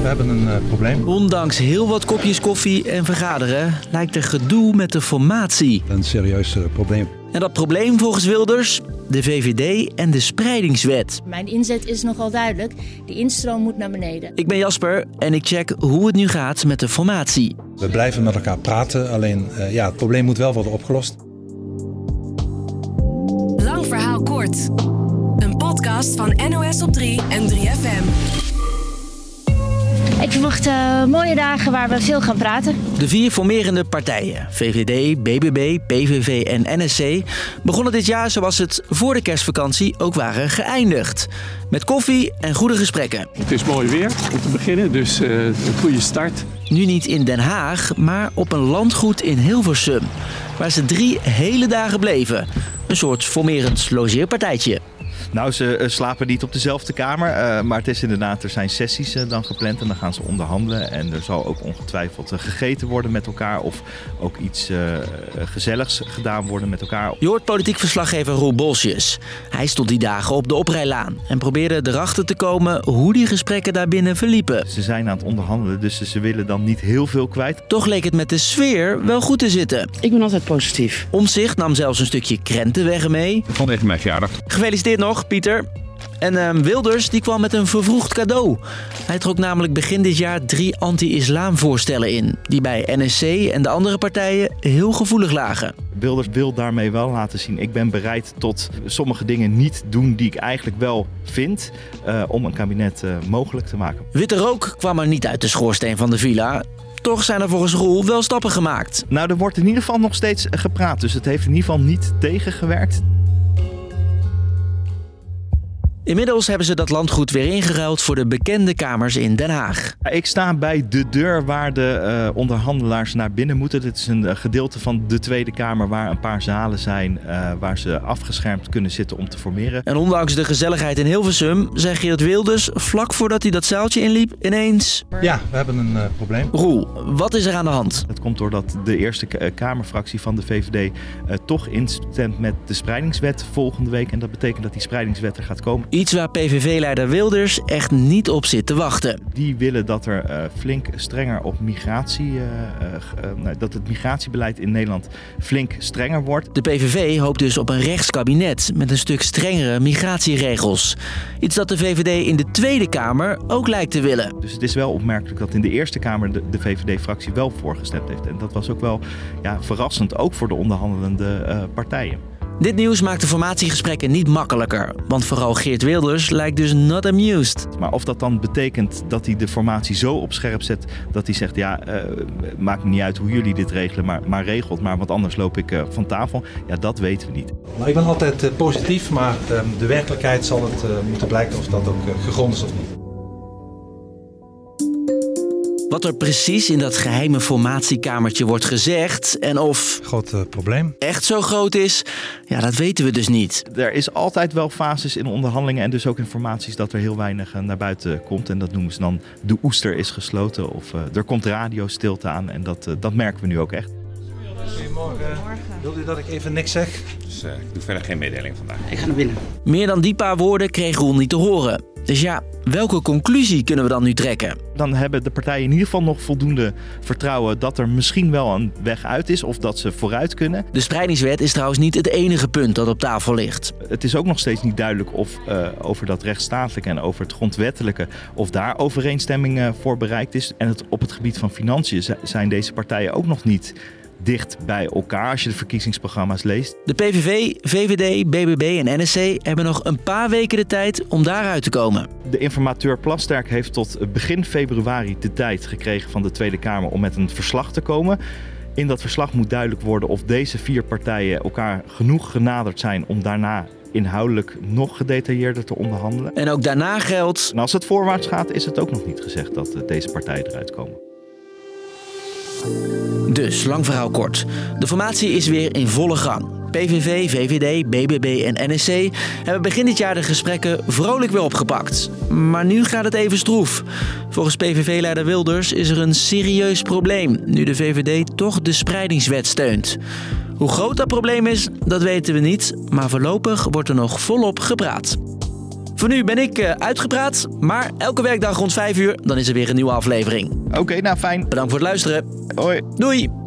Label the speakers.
Speaker 1: we hebben een eh, probleem.
Speaker 2: Ondanks heel wat kopjes koffie en vergaderen lijkt er gedoe met de formatie.
Speaker 1: Een serieus eh, probleem.
Speaker 2: En dat probleem volgens Wilders de VVD en de spreidingswet.
Speaker 3: Mijn inzet is nogal duidelijk. De instroom moet naar beneden.
Speaker 2: Ik ben Jasper en ik check hoe het nu gaat met de formatie.
Speaker 1: We blijven met elkaar praten, alleen eh, ja, het probleem moet wel worden opgelost.
Speaker 4: Lang verhaal kort. Een podcast van NOS op 3 en 3FM.
Speaker 3: Ik verwacht eh, mooie dagen waar we veel gaan praten.
Speaker 2: De vier formerende partijen, VVD, BBB, PVV en NSC, begonnen dit jaar zoals het voor de kerstvakantie ook waren geëindigd. Met koffie en goede gesprekken.
Speaker 5: Het is mooi weer om te beginnen, dus eh, een goede start.
Speaker 2: Nu niet in Den Haag, maar op een landgoed in Hilversum. Waar ze drie hele dagen bleven. Een soort formerend logeerpartijtje.
Speaker 6: Nou, ze eh, slapen niet op dezelfde kamer. eh, maar het is inderdaad, er zijn sessies eh, dan gepland en dan gaan ze onderhandelen. En er zal ook ongetwijfeld eh, gegeten worden met elkaar. Of ook iets eh, gezelligs gedaan worden met elkaar.
Speaker 2: Je hoort politiek verslaggever Roel Bolsjes. Hij stond die dagen op de oprijlaan en probeerde erachter te komen hoe die gesprekken daarbinnen verliepen.
Speaker 6: Ze zijn aan het onderhandelen, dus ze willen dan niet heel veel kwijt.
Speaker 2: Toch leek het met de sfeer wel goed te zitten.
Speaker 7: Ik ben altijd positief.
Speaker 2: Omzicht nam zelfs een stukje krentenweg mee.
Speaker 8: Van deze mijn verjaardag.
Speaker 2: Gefeliciteerd nog, Pieter. En ehm, Wilders die kwam met een vervroegd cadeau. Hij trok namelijk begin dit jaar drie anti-islamvoorstellen in, die bij NSC en de andere partijen heel gevoelig lagen.
Speaker 6: Wilders wil daarmee wel laten zien, ik ben bereid tot sommige dingen niet doen die ik eigenlijk wel vind. eh, om een kabinet eh, mogelijk te maken.
Speaker 2: Witte rook kwam er niet uit de schoorsteen van de villa. Toch zijn er volgens Roel wel stappen gemaakt.
Speaker 6: Nou, er wordt in ieder geval nog steeds gepraat. Dus het heeft in ieder geval niet tegengewerkt.
Speaker 2: Inmiddels hebben ze dat landgoed weer ingeruild voor de bekende kamers in Den Haag.
Speaker 6: Ik sta bij de deur waar de eh, onderhandelaars naar binnen moeten. Dit is een eh, gedeelte van de Tweede Kamer waar een paar zalen zijn eh, waar ze afgeschermd kunnen zitten om te formeren.
Speaker 2: En ondanks de gezelligheid in Hilversum zei Geert Wilders vlak voordat hij dat zaaltje inliep ineens...
Speaker 1: Ja, we hebben een eh, probleem.
Speaker 2: Roel, wat is er aan de hand?
Speaker 6: Dat komt doordat de Eerste K- eh, Kamerfractie van de VVD eh, toch instemt met de spreidingswet volgende week. En dat betekent dat die spreidingswet er gaat komen.
Speaker 2: Iets waar PVV-leider Wilders echt niet op zit te wachten.
Speaker 6: Die willen dat er eh, flink strenger op migratie, eh, eh, g- eh, nou, dat het migratiebeleid in Nederland flink strenger wordt.
Speaker 2: De PVV hoopt dus op een rechtskabinet met een stuk strengere migratieregels. Iets dat de VVD in de Tweede Kamer ook lijkt te willen.
Speaker 6: Dus het is wel opmerkelijk dat in de Eerste Kamer de, de VVD-fractie wel voorgestemd heeft. En dat was ook wel ja, verrassend, ook voor de onderhandelende eh, partijen.
Speaker 2: Dit nieuws maakt de formatiegesprekken niet makkelijker. Want vooral Geert Wilders lijkt dus not amused.
Speaker 6: Maar of dat dan betekent dat hij de formatie zo op scherp zet dat hij zegt: Ja, eh, maakt me niet uit hoe jullie dit regelen, maar, maar regelt maar, want anders loop ik eh, van tafel. Ja, dat weten we niet.
Speaker 1: Nou, ik ben altijd eh, positief, maar eh, de werkelijkheid zal het eh, moeten blijken of dat ook eh, gegrond is of niet.
Speaker 2: Wat er precies in dat geheime formatiekamertje wordt gezegd en of
Speaker 1: Groot eh, probleem.
Speaker 2: echt zo groot is, ja, dat weten we dus niet.
Speaker 6: Er is altijd wel fases in onderhandelingen en dus ook informaties dat er heel weinig eh, naar buiten komt. En dat noemen ze dan: de oester is gesloten of eh, er komt radiostilte aan. En dat, eh, dat merken we nu ook echt.
Speaker 1: Goedemorgen. Wilt u dat ik even niks zeg?
Speaker 8: Dus eh, ik doe verder geen mededeling vandaag.
Speaker 7: Ik ga naar binnen.
Speaker 2: Meer dan die paar woorden kreeg Roel niet te horen. Dus ja, welke conclusie kunnen we dan nu trekken?
Speaker 6: dan hebben de partijen in ieder geval nog voldoende vertrouwen dat er misschien wel een weg uit is of dat ze vooruit kunnen.
Speaker 2: De spreidingswet is trouwens niet het enige punt dat op tafel ligt.
Speaker 6: Het is ook nog steeds niet duidelijk of eh, over dat rechtsstatelijke en over het grondwettelijke of daar overeenstemming eh, voor bereikt is. En het, op het gebied van financiën zi- zijn deze partijen ook nog niet dicht bij elkaar als je de verkiezingsprogramma's leest.
Speaker 2: De PVV, VVD, BBB en NSC hebben nog een paar weken de tijd om daaruit te komen.
Speaker 6: De informateur Plasterk heeft tot begin februari de tijd gekregen van de Tweede Kamer om met een verslag te komen. In dat verslag moet duidelijk worden of deze vier partijen elkaar genoeg genaderd zijn om daarna inhoudelijk nog gedetailleerder te onderhandelen.
Speaker 2: En ook daarna geldt,
Speaker 6: En als het voorwaarts gaat, is het ook nog niet gezegd dat eh, deze partijen eruit komen.
Speaker 2: dus lang verhaal kort. De formatie is weer in volle gang. PVV, VVD, BBB en NSC hebben begin dit jaar de gesprekken vrolijk weer opgepakt. Maar nu gaat het even stroef. Volgens PVV-leider Wilders is er een serieus probleem nu de VVD toch de spreidingswet steunt. Hoe groot dat probleem is, dat weten we niet, maar voorlopig wordt er nog volop gepraat. Voor nu ben ik eh, uitgepraat, maar elke werkdag rond 5 uur dan is er weer een nieuwe aflevering.
Speaker 6: Oké, nou fijn.
Speaker 2: Bedankt voor het luisteren.
Speaker 6: Hoi.
Speaker 2: Doei!